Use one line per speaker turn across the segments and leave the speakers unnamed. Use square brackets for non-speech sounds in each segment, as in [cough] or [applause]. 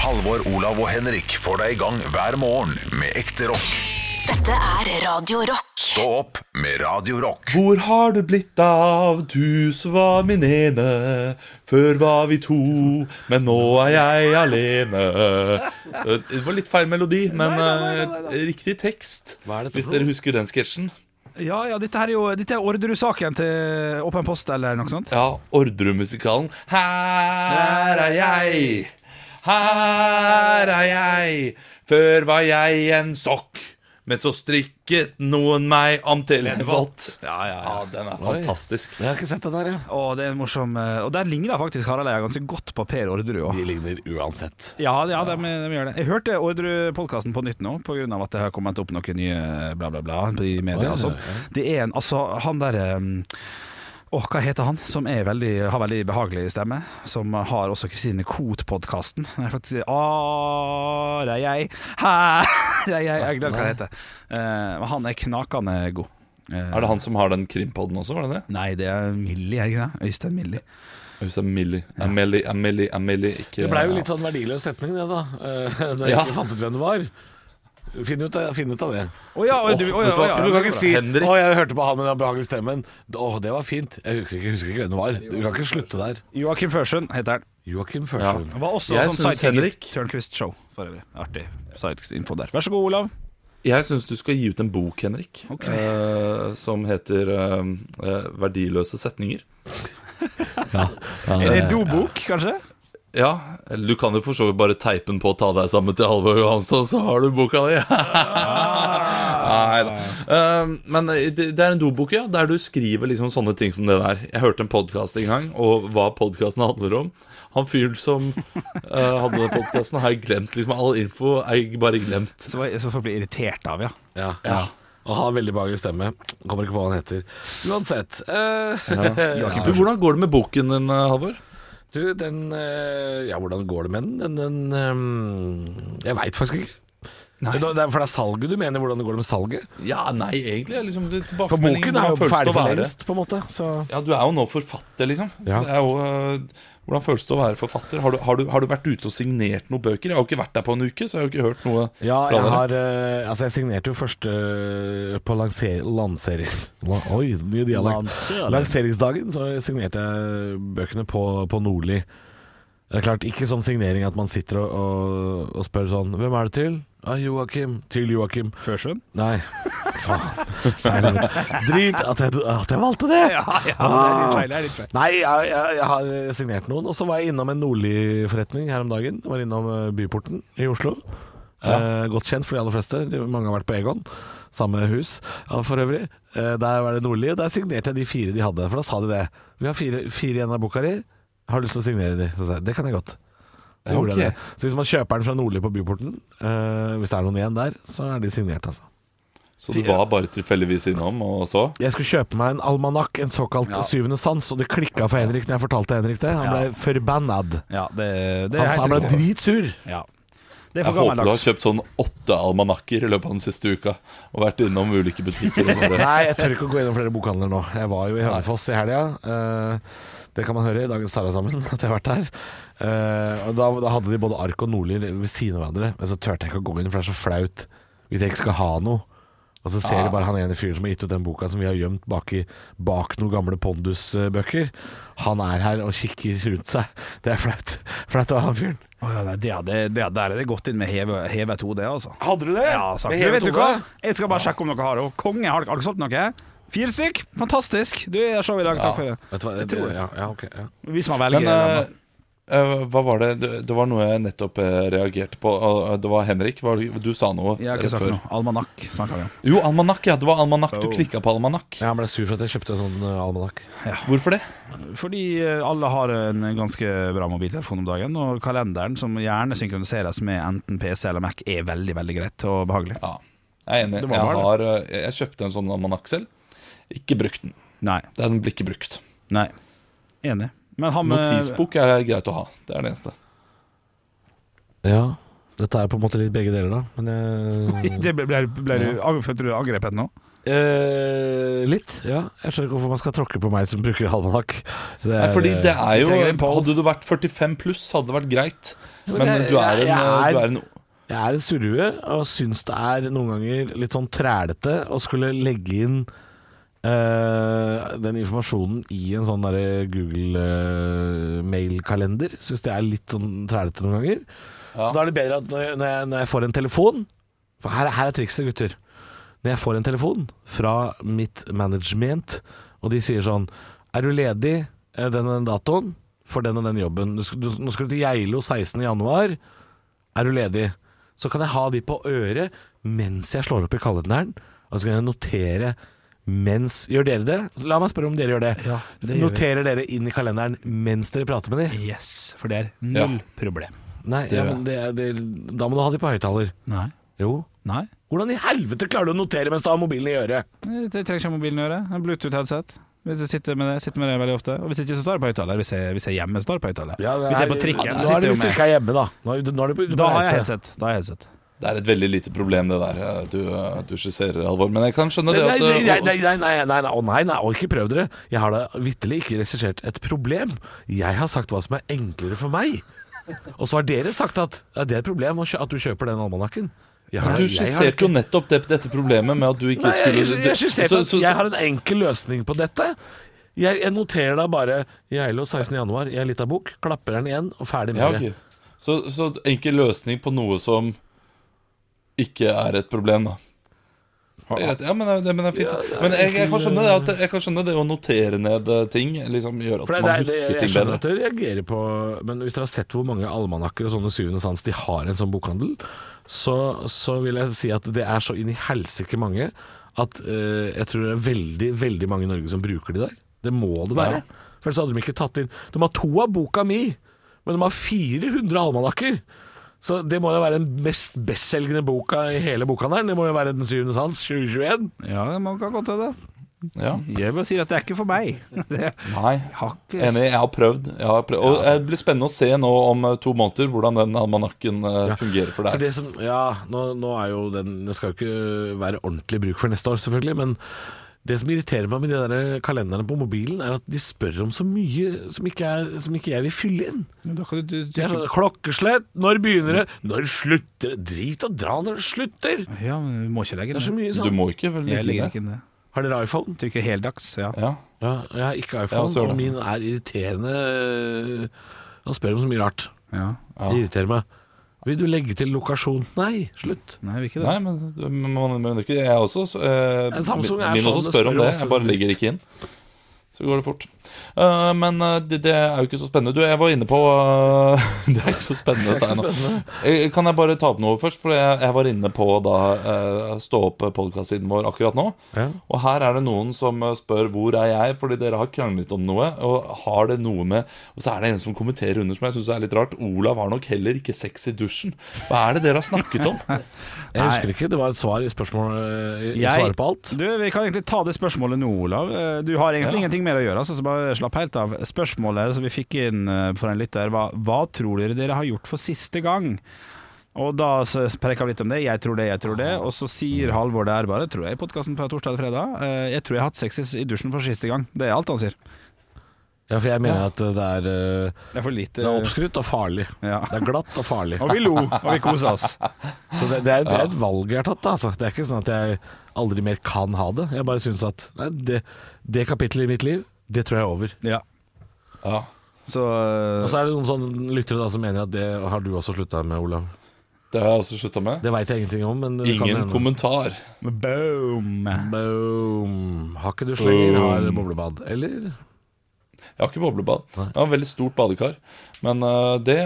Halvor, Olav og Henrik får deg i gang hver morgen med ekte rock.
Dette er Radio Rock.
Stå opp med Radio Rock.
Hvor har du blitt av? Du som var min ene. Før var vi to, men nå er jeg alene. Eh, Det var litt feil melodi, men eh, riktig tekst.
Hva er dette
Hvis
for noe?
dere husker den sketsjen.
Ja, ja, dette her er jo Dette er Orderud-saken til Åpen post eller noe sånt.
Ja, Orderud-musikalen. Her er jeg, her er jeg. Før var jeg en sokk, men så strikket noen meg om til en vott.
Ja, ja, ja.
Ja, den er fantastisk.
Jeg har ikke sett den der, jeg.
Og det er en morsom eh, Og der ligner faktisk Harald Eia ganske godt på Per Orderud òg.
De ligner uansett.
Ja, ja, de, de gjør det. Jeg hørte Orderud-podkasten på nytt nå, pga. at det har kommet opp noen nye bla, bla, bla i media. og sånn. Det er en Altså, han derre Åh, hva heter han som er veldig, har veldig behagelig stemme? Som har også Kristine Koht-podkasten. Jeg får faktisk si Are jeg, her er jeg Jeg glemmer hva det heter. Eh, men han er knakende god. Eh,
Er det han som har den krimpodden også? var det det?
Nei, det er Millie, er det ikke det? Øystein Millie.
Hun sa Millie. Amelie, Amelie, Amelie ikke
Det blei jo litt sånn verdiløs setning, det, da. eh, [laughs] Da jeg
Ja.
ikke fant ut hvem det var. Finn ut, av- finn ut av det.
Å ja,
Åh,
du, å,
vet
ja,
du hva?
å, ja,
Du kan ikke si
Henrik.
'Å, jeg hørte på han med den behagelige stemmen'. Å, det var fint. Jeg husker ikke, jeg husker ikke hvem det var. Du kan ikke slutte der.
Joakim Førsund heter han.
Joakim Førsund.
Var også
Jeg
sånn
synes
sidekick i
Henrik-
Tørnquist-show, for øvrig. Artig sideinfo der. Vær så god, Olav.
Jeg syns du skal gi ut en bok, Henrik, eh, som heter eh, eh, 'Verdiløse setninger'.
Er det dobok, kanskje?
Ja, eller du kan jo for så vidt bare teipe den på og ta deg sammen til Halvor Johansson, så har du boka di. [laughs]
Ah.
Nei da. Eh, men det, det er en dobok, ja, der du skriver liksom sånne ting som det der. Jeg hørte en podkast en gang, og hva podkasten handler om. Han fyren som eh, hadde den podkasten, har jeg glemt. liksom All info er jeg bare glemt.
Som jeg- som folk blir irritert av, ja.
Ja. Og han har veldig behagelig stemme. Kommer ikke på hva han heter. Uansett. eh,
Du, hvordan går det med boken din, eh, Halvor?
[laughs] Du, den eh, Ja, hvordan går det med den? Den, den ehm, Jeg veit faktisk ikke. Det er, for det er salget du mener, hvordan det går med salget?
Ja, nei, egentlig er liksom det
For boken er jo ferdig for
være
lengst, på en måte. Så
Ja, du er jo nå forfatter, liksom.
Ja.
Så det er jo, eh, hvordan føles det å være forfatter? Har du, har, du, har du vært ute og signert noen bøker? Jeg har jo ikke vært der på en uke, så jeg har jo ikke hørt noe
Ja,
fra
jeg
dere.
har eh, Altså, jeg signerte jo første eh, på lanser, lanserer... La, oi, mye dialekt. Lanseringsdagen så signerte jeg bøkene på, på Nordli. Det er klart, ikke sånn signering at man sitter og, og, og spør sånn Hvem er det til? Ah, Joakim. Til Joakim.
Førsund?
Nei, faen. Feil ord. Drit at jeg, at jeg valgte det.
Ja, det er litt feil. Det er litt feil.
Nei, jeg, jeg, jeg har signert noen. Og så var jeg innom en Nordli-forretning her om dagen. Var innom eh, Byporten i Oslo. Eh, godt kjent for de aller fleste. De- Mange har vært på Egon. Samme hus ja, for øvrig. Eh, der var det Nordli, og der signerte jeg de fire de hadde. For da sa de det. Vi har fire, fire igjen av boka di. Har du lyst til å signere de? Så sa jeg det kan jeg godt. Så, gjorde
Ok.
jeg det. så hvis man kjøper den fra Nordli på Byporten, eh, hvis det er noen igjen der, så er de signert, altså.
Så du var bare tilfeldigvis innom og så?
Jeg skulle kjøpe meg en almanakk, en såkalt syvende sans, og det klikka for Henrik når jeg fortalte Henrik det. Han ble forbannad.
Ja, det, det er
Han, sa
helt
han ble
riktig.
dritsur.
Ja. Det
Jeg
er
håper
for
du har
gammeldags.
kjøpt sånn åtte almanakker i løpet av den siste uka og vært innom ulike butikker. Og
[laughs]
bare,
Nei, jeg tør ikke å gå gjennom flere bokhandler nå. Jeg var jo i Hønefoss i helga. Eh, det kan man høre i dagens Sara sammen, [laughs] at jeg har vært der. Eh, og da, da hadde de både ark og Nordli ved siden av hverandre, men så turte jeg ikke å gå inn, for det er så flaut hvis jeg ikke skal ha noe. Og så ser du bare han ene fyren som har gitt ut den boka som vi har gjemt bak, i, bak noen gamle Pondus-bøker. Han er her og kikker rundt seg. Det er flaut. [laughs] Flaut av han fyren.
Å, ja, nei, det, hadde- det, der er det gått inn med heve- hevet hode, altså.
Hadde du det?
Ja, sagt. Du, vet du hva? Jeg skal bare sjekke om dere har det. Og Konge, har dere har dere solgt noe? Fire stykk, fantastisk! Du er show i dag, takk for det.
Vet du hva, det,
tror det.
ja, ja, ok, ja.
Hvis man velger
Men
den, da.
eh, eh, hva var det? det Det var noe jeg nettopp eh, reagerte på. og, eh, Det var Henrik. var det- Du sa noe
Jeg har
eh,
ikke sagt
før.
noe. Almanakk snakka vi om.
Jo, almanakk. Ja, det var almanakk.
Oh.
Du klikka på almanakk.
Ja, Han ble sur for at jeg kjøpte en sånn eh, almanakk.
Hvorfor det?
Fordi eh, alle har en ganske bra mobiltelefon om dagen, og kalenderen, som gjerne synkroniseres med enten PC eller Mac, er veldig veldig greit og behagelig.
Ja, jeg er enig.
Det var
Jeg,
vel
har, eh, jeg kjøpte en sånn almanakk selv. Ikke brukt den.
Nei.
Den ble ikke brukt.
nei Enig. Men han eh, med [laughs]
Notisbok er greit å ha. Det er det eneste.
Ja, dette er på en måte litt begge deler da Men eh, jeg,
Det ble, ble, ble, du- ang- Følte du deg angrepet nå?
Eh, litt, ja. Jeg skjønner ikke hvorfor man skal tråkke på meg som bruker almanakk. Det eh,
Nei, fordi det er jo
trenger en poll.
Hadde du vært 45 pluss, hadde det vært greit. Men
jeg-
du er
jeg-
en, eh,
jeg
du
er-
er en
Jeg er en surrue og syns det er noen ganger litt sånn trælete å skulle legge inn eh, den informasjonen i en sånn derre Google-mailkalender. syns det er litt sånn trælete noen ganger. Så da er det bedre at når jeg, når jeg, når jeg får en telefon For her, er- her er trikset, gutter. Når jeg får en telefon fra mitt management, og de sier sånn Er du ledig eh, den og den datoen for den og den jobben? Du skal, du, nå skal du til Geilo 16. januar. Er du ledig? Så kan jeg ha de på øret mens jeg slår opp i kalenderen. Og så kan jeg notere mens Gjør dere det? La meg spørre om dere gjør det.
Ja, det gjør vi.
Noterer dere inn i kalenderen mens dere prater med dem?
Yes, for det er null problem.
Nei,
gjør
ja,
jeg.
men det, er- det, da må du ha de på høyttaler.
Nei.
Jo.
Nei.
Hvordan i helvete klarer du å notere mens du har mobilen i øret?
Det trenger ikke ha mobilen å gjøre. En Bluetooth-headset. Hvis jeg sitter med det, sitter med det veldig ofte. Og hvis ikke, så står det på høyttaler. Hvis, jeg- hvis jeg er hjemme, så står det på høyttaler. hvis jeg er på trikken, så
Nå er
sitter
det
jeg
hvis
jo
du
med.
ikke er hjemme, da. Nå er du, nå er du på, du
Da
på
har jeg
reise.
headset. Da har jeg headset.
Det er et veldig lite problem, det der eh, du, eh, du skisserer, Alvor. Men jeg kan skjønne
Nei,
det at
nei, nei,
eh,
nei, nei, nei, nei, nei, å nei, nei, å, ikke prøv dere. Jeg har da vitterlig ikke regissert et problem. Jeg har sagt hva som er enklere for meg. Og så har dere sagt at ja, det er et problem å kjø- at du kjøper den almanakken. Jeg har-
Du
jeg har
skisserte
ikke-
jo nettopp det, dette problemet med at du ikke
Nei, jeg,
skulle
jeg, jeg, skisserte
så-
at
så-
jeg har en enkel løsning på dette. Jeg, jeg noterer da bare Geilo 16. januar i ei lita bok, klapper den igjen og ferdig med
ja, ok. så, så enkel løsning på noe som ikke er et problem, da. Det er greit. Ja, men det, men det er fint. da. men jeg, jeg, kan skjønne det at, jeg kan skjønne det å notere ned eh, ting. Liksom Gjør at
For det,
man
det, det,
husker
jeg
ting
skjønner
bedre.
at dere reagerer på Men hvis dere har sett hvor mange almanakker og sånne syvende sans de har i en sånn bokhandel, så, så vil jeg si at det er så inn i helsike mange at eh, jeg tror det er veldig, veldig mange i Norge som bruker de der. Det må det være. For ellers hadde de ikke tatt inn De har to av boka mi, men de har 400 almanakker. Så det må jo være den mest bestselgende boka i hele bokhandelen. Det må jo være Den syvende sans 2021.
Ja, man kan godt gjøre det.
Ja.
Jeg bare sier at det er ikke for meg. [laughs] Det
Nei,
har ikke
enig. Jeg har prøvd. Jeg har prøvd. Og det blir spennende å se nå om eh, to måneder hvordan den almanakken eh, fungerer for
For
deg.
det som, ja, nå, nå er jo den Den skal jo ikke være ordentlig bruk for neste år, selvfølgelig. Men det som irriterer meg med de der kalenderne på mobilen, er at de spør om så mye som ikke, er, som ikke jeg vil fylle inn.
Men Da kan du, du,
Det er sånn, Klokkeslett, når begynner det? Når slutter det? Drit og dra når det slutter!
Ja, men du må ikke legge
Det er så
den.
mye
Du
sånn.
må ikke vel
Jeg
ligge
legger
ned.
ikke den.
Har dere iPhone?
Trykker heldags, ja.
Ja.
Ja, jeg har ikke
Ja,
iPhone,
så gjør
og
det.
min er irriterende Han spør om så mye rart.
ja.
Det irriterer meg. Vil du legge til lokasjon? Nei, slutt.
Nei, vil ikke det.
Nei, men du- man man gjør ikke det. Jeg også. så, eh,
En Samsung er
min
sånn,
også
det
spør om
spør
det.
også
Jeg bare
sånn
legger ikke inn. Så går det fort. Eh, men eh, det, det er jo ikke så spennende. Du, jeg var inne på eh, [laughs] Det er ikke så spennende, sa jeg nå. Eh, Kan jeg bare ta opp noe først? For jeg, jeg var inne på da eh, Stå opp podkast-siden vår akkurat nå.
Ja.
Og her er det noen som eh, spør 'Hvor er jeg?' fordi dere har kranglet om noe. Og har det noe med Og så er det en som kommenterer under som jeg syns er litt rart. 'Olav har nok heller ikke sex i dusjen'. Hva er det dere har snakket om?
Jeg husker ikke. Det var et svar i spørsmål i, i svaret på alt.
Du, vi kan egentlig ta det spørsmålet nå, Olav. Eh, Du har egentlig
Ja.
ingenting mer å gjøre, altså, så bare slapp helt av. Spørsmålet som vi fikk inn eh, for en lytter, var hva tror dere dere har gjort for siste gang? Og da så preker vi litt om det. Jeg tror det, jeg tror det. Og så sier Halvor der bare, tror jeg, i podkasten på torsdag eller fredag, eh, jeg tror jeg har hatt sex i- i dusjen for siste gang. Det er alt han sier.
Ja, for jeg mener at det er, eh,
Det er for lite.
det er oppskrytt og farlig.
Ja.
Det er glatt og farlig.
Og vi lo, og vi kosa
[laughs]
oss.
Så det, det, er, det er et valg jeg har tatt. da, Altså. Det er ikke sånn at jeg aldri mer kan ha det. Jeg bare syns at nei, det, det kapittelet i mitt liv, det tror jeg er over.
Ja.
Ja
Så eh,
Og så er det noen sånne lyttere da som mener at det har du også slutta med, Olav.
Det har jeg også slutta med.
Det veit jeg ingenting om, men det
Ingen
kan hende.
kommentar.
Boom!
Boom. Har ikke dusj lenger, har
Boom.
boblebad. Eller?
Jeg har ikke boblebad.
Nei.
Jeg har veldig stort badekar. Men eh, det,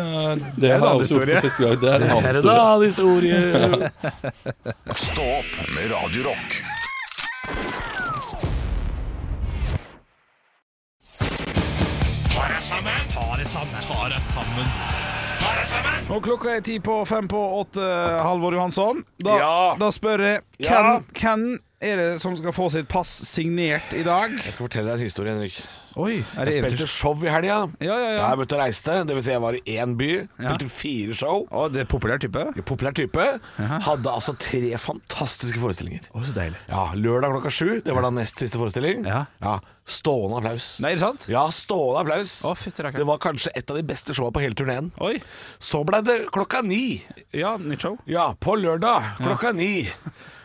det har jeg også gjort for siste gang. Det er en annen historie.
annen [laughs] historie.
Stå opp med Radio Rock.
Og klokka er ti på fem på åtte, Halvor Johansson. Da,
Ja.
da spør jeg
Ja.
Hvem hvem er det som skal få sitt pass signert i dag?
Jeg skal fortelle deg en historie, Henrik.
Oi, er det
Jeg spilte
eventyr?
show i helga.
Ja, ja, ja.
Jeg var ute og reiste, dvs. Si jeg var i én by. Spilte fire show.
Å, det er populær type? Å,
Populær type. Hadde altså tre fantastiske forestillinger.
så deilig.
Ja, Lørdag klokka sju, det var da nest siste forestilling.
Ja.
Stående applaus.
Nei, er det sant?
Ja, stående applaus.
Å, fytti rakkeren.
det var kanskje et av de beste showa på hele turneen.
Oi.
Så blei det klokka ni.
Ja, nytt show.
Ja, på lørdag klokka ni.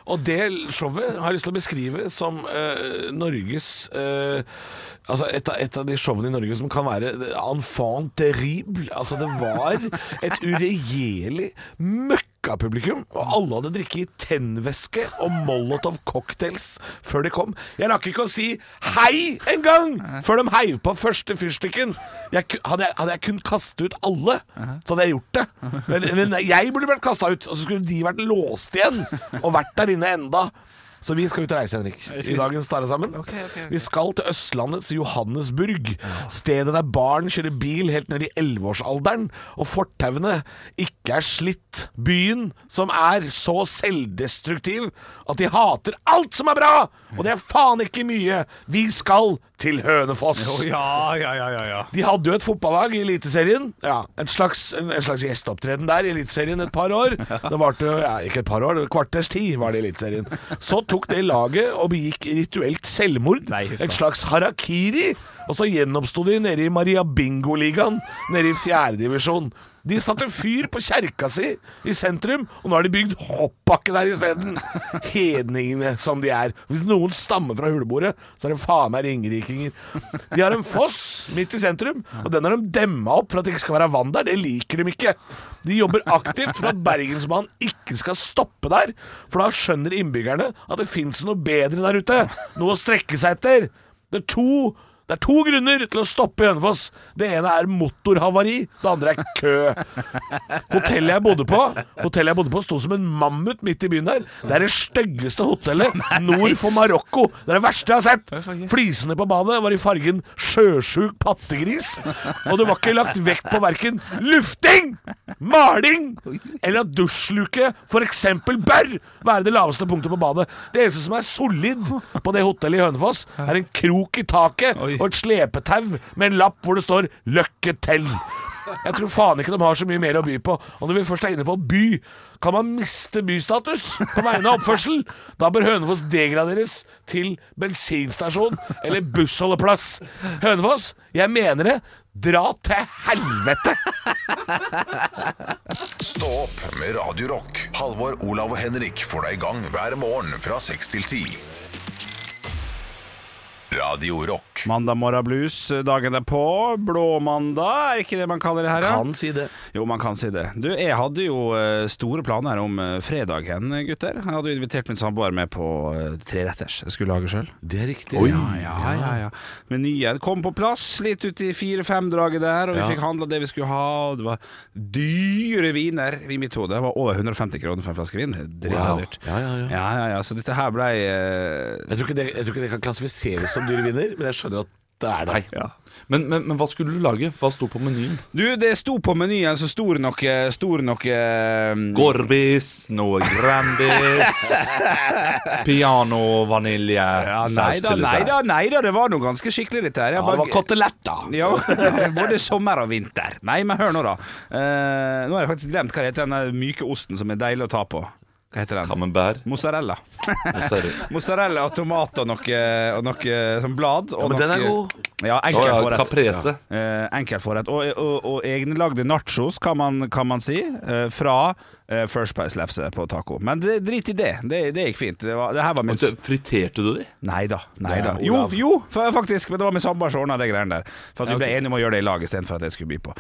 Og det showet har jeg lyst til å beskrive som eh, Norges eh, Altså et av, et av de showene i Norge som kan være enfant terrible. Altså det var et uregjerlig møkkapublikum, og alle hadde drikket i tennvæske og Molotov cocktails før de kom. Jeg rakk ikke å si hei engang før de heiv på første fyrstikken. Jeg, ku- hadde, jeg, hadde jeg kun kastet ut alle, så hadde jeg gjort det. Eller, eller nei, jeg burde vært kasta ut, og så skulle de vært låst igjen og vært der inne enda. Så vi skal ut og reise, Henrik. I dagens Tare sammen. Vi skal til Østlandets Johannesburg. Stedet der barn kjører bil helt ned i 11-årsalderen, og fortauene ikke er slitt. Byen som er så selvdestruktiv at de hater alt som er bra! Og det er faen ikke mye! Vi skal til Hønefoss!
ja, ja, ja, ja, ja.
De hadde jo et fotballag i Eliteserien. Ja, et slags, en, en slags gjesteopptreden der i Eliteserien et par år. Det varte jo ja, ikke et par år, det var et kvarters tid var det i Eliteserien. Så tok det laget og begikk rituelt selvmord.
Nei, huff da.
et slags harakiri. Og så gjenoppsto de nede i Maria Bingo-ligaen, nede i fjerdedivisjon. De satte fyr på kjerka si i sentrum, og nå har de bygd hoppbakke der isteden. Hedningene som de er. Hvis noen stammer fra hulebordet, så er det faen meg ringerikinger. De har en foss midt i sentrum, og den har de demma opp for at det ikke skal være vann der. Det liker de ikke. De jobber aktivt for at Bergensbanen ikke skal stoppe der, for da skjønner innbyggerne at det fins noe bedre der ute. Noe å strekke seg etter. Det er to det er to grunner til å stoppe i Hønefoss. Det ene er motorhavari, det andre er kø. Hotellet jeg bodde på Hotellet jeg bodde på sto som en mammut midt i byen der. Det er det styggeste hotellet nord for Marokko. Det er det verste jeg har sett. Flisene på badet var i fargen sjøsjuk pattegris. Og det var ikke lagt vekt på verken lufting, maling eller at dusjluke f.eks. bør være det laveste punktet på badet. Det eneste som er solid på det hotellet i Hønefoss, er en krok i taket
Oi.
og et slepetau med en lapp hvor det står 'Løkke til'. Jeg tror faen ikke de har så mye mer å by på. Og når vi først er inne på by, kan man miste bystatus på vegne av oppførsel. Da bør Hønefoss degraderes til bensinstasjon eller bussholdeplass. Hønefoss, jeg mener det. Dra til helvete!
Stå opp med Radio Rock. Halvor, Olav og Henrik får deg i gang hver morgen fra 6 til 10. Radio Rock.
Mandag morgen blues, dagen derpå. Blåmandag, er ikke det man kaller det her? ja?
si det.
Jo, man kan si det. Du, jeg hadde jo eh, store planer om eh, fredagen, gutter. Jeg hadde jo invitert min samboer med på eh, treretters. Jeg skulle lage sjøl.
Det er riktig.
Ja, ja, ja, ja. Menyen kom på plass litt ut i fire-fem-draget der, og vi fikk handla det vi skulle ha, og det var dyre viner i mitt hode. Det var over 150 kroner for en flaske vin. Drita
Wow.
dyrt.
Ja, ja, ja.
ja, ja, ja. Så dette her blei eh,
Jeg, tror ikke det, jeg tror ikke det kan klassifiseres som dyre vinner, men jeg skjønner at det er det.
ja.
Men, men, men hva skulle du lage? Hva sto på menyen?
Du, det sto på menyen så stor nok Stor nok eh,
Gorbis, noe Grandis, piano, vanilje,
Ja, nei da, nei da, nei da, det var noe ganske skikkelig dette her. Jeg
Ja, det
bare-
var kotelett, da.
[laughs] Ja, både sommer og vinter. Nei, men hør nå, da. Eh, nå har jeg faktisk glemt hva heter den der myke osten som er deilig å ta på. Hva heter den?
Camembert.
Mozzarella.
mozzarella.
Mozzarella og tomat og noe, og noe sånn blad. Og
men den er
noe-
god.
Å,
Ja, enkel
ja,
forrett.
caprese.
Eh, enkel forrett. Og, og, og egenlagde nachos, kan man, kan man si, eh, fra eh, First Price-lefse på taco. Men det, drit i det. det. Det gikk fint. Det, var, det her var min
Altså, Friterte du de?
Nei da. Nei
Det er
da. Jo,
Olav.
jo, fa- faktisk. Men det var min samboer som ordna de greiene der. For at vi ble enige om å gjøre det i lag istedenfor at jeg skulle by på.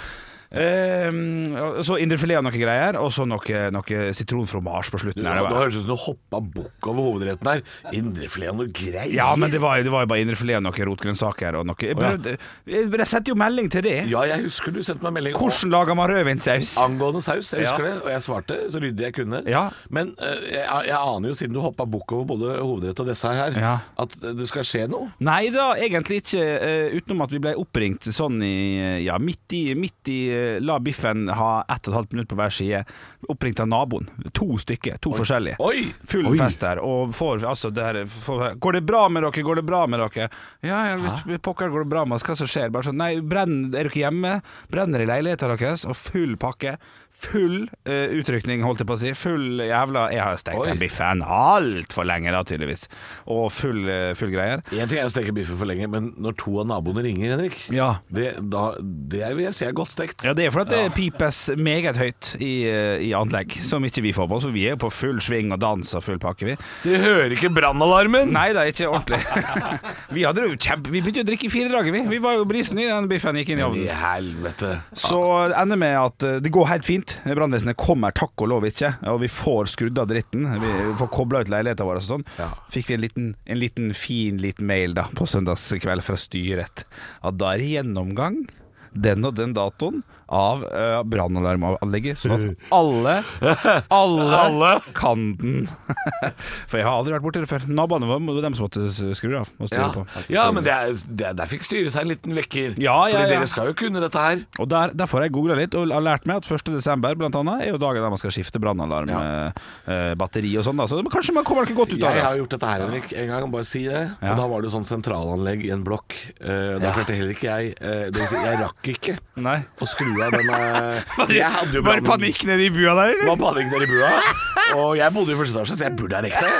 Ehm, og så indrefilet og noe greier, og så noe, noe sitronfromasj på slutten. her.
Ja, det høres ut som du hoppa bukk over hovedretten her. Indrefileten og greier.
ja, men det var, det var jo bare indrefilet og noen rotgrønnsaker og noe Jeg, prøvde, jeg, jeg sendte jo melding til det.
Ja, jeg husker du sendte meg melding.
Hvordan lager man rødvinssaus?
Angående saus, jeg husker
Ja.
det, og jeg svarte så ryddig jeg kunne.
Ja.
Men eh, jeg, jeg aner jo, siden du hoppa bukk over både hovedrett og dessert her,
Ja.
at det skal skje noe.
Nei da, egentlig ikke. eh, utenom at vi ble oppringt sånn i eh, Ja, midt i, midt i eh, la biffen ha ett og et halvt minutt på hver side. Oppringt av naboen. To stykker. To forskjellige.
Oi!
Full
Oi.
fest der. Og får altså det her får, Går det bra med dere? Går det bra med dere? Ja, ja, vi- pokker går det bra med oss? Hva som skjer? Bare sånn Nei, brenn, er dere hjemme? Brenner i leiligheten deres? Og full pakke. Full eh, utrykning, holdt jeg på å si. Full jævla Jeg har stekt den biffen altfor lenge, da, tydeligvis. Og full, eh, full greier.
Én ting er å steke biffen for lenge, men når to av naboene ringer, Henrik
Ja.
Det, da, det vil jeg si er godt stekt.
Ja, det er fordi at det pipes meget høyt i, eh, i anlegg, som ikke vi får på oss. For vi er jo på full sving og dans og full pakke, vi.
De hører ikke brannalarmen!
Nei da, ikke ordentlig. [laughs] vi, hadde jo kjempe, vi begynte jo å drikke i fire dager, vi. Vi var jo brisen i den biffen gikk inn i
I
ovnen.
helvete.
Så det ender med at eh, det går helt fint. Brannvesenet kommer takk og lov ikke, og vi får skrudd av dritten. Vi får kobla ut leiligheten vår og sånn.
Ja.
Fikk vi en liten, en liten fin liten mail da på søndagskveld fra styret at da er det gjennomgang den og den datoen av uh, brannalarmanlegget, sånn at
[laughs]
alle, alle, kan den. [laughs] For jeg har aldri vært borti det før. Naboene var dem som måtte skru av og styre
Ja,
på.
ja men det er, det, er- der fikk styret seg en liten vekker.
Ja, ja,
Fordi
ja.
dere skal jo kunne dette her.
Og der, Derfor har jeg googla litt og har lært meg at 1.12. blant annet er jo dagen der man skal skifte brannalarmbatteri og sånn. da. Så det- kanskje man kommer ikke godt ut av
Jeg
det.
har gjort dette her, Henrik, en gang, bare si det.
Ja.
Og da var det sånn sentralanlegg i en blokk. Eh, da klarte heller ikke jeg eh, det vil si, Jeg rakk ikke
Nei.
å skru av
[laughs]
den eh, jeg hadde jo
Var det
brann-
panikk nede i bua der,
Det
eller?
var panikk nede i bua. Og jeg bodde i første etasje, så jeg burde ha rekt det.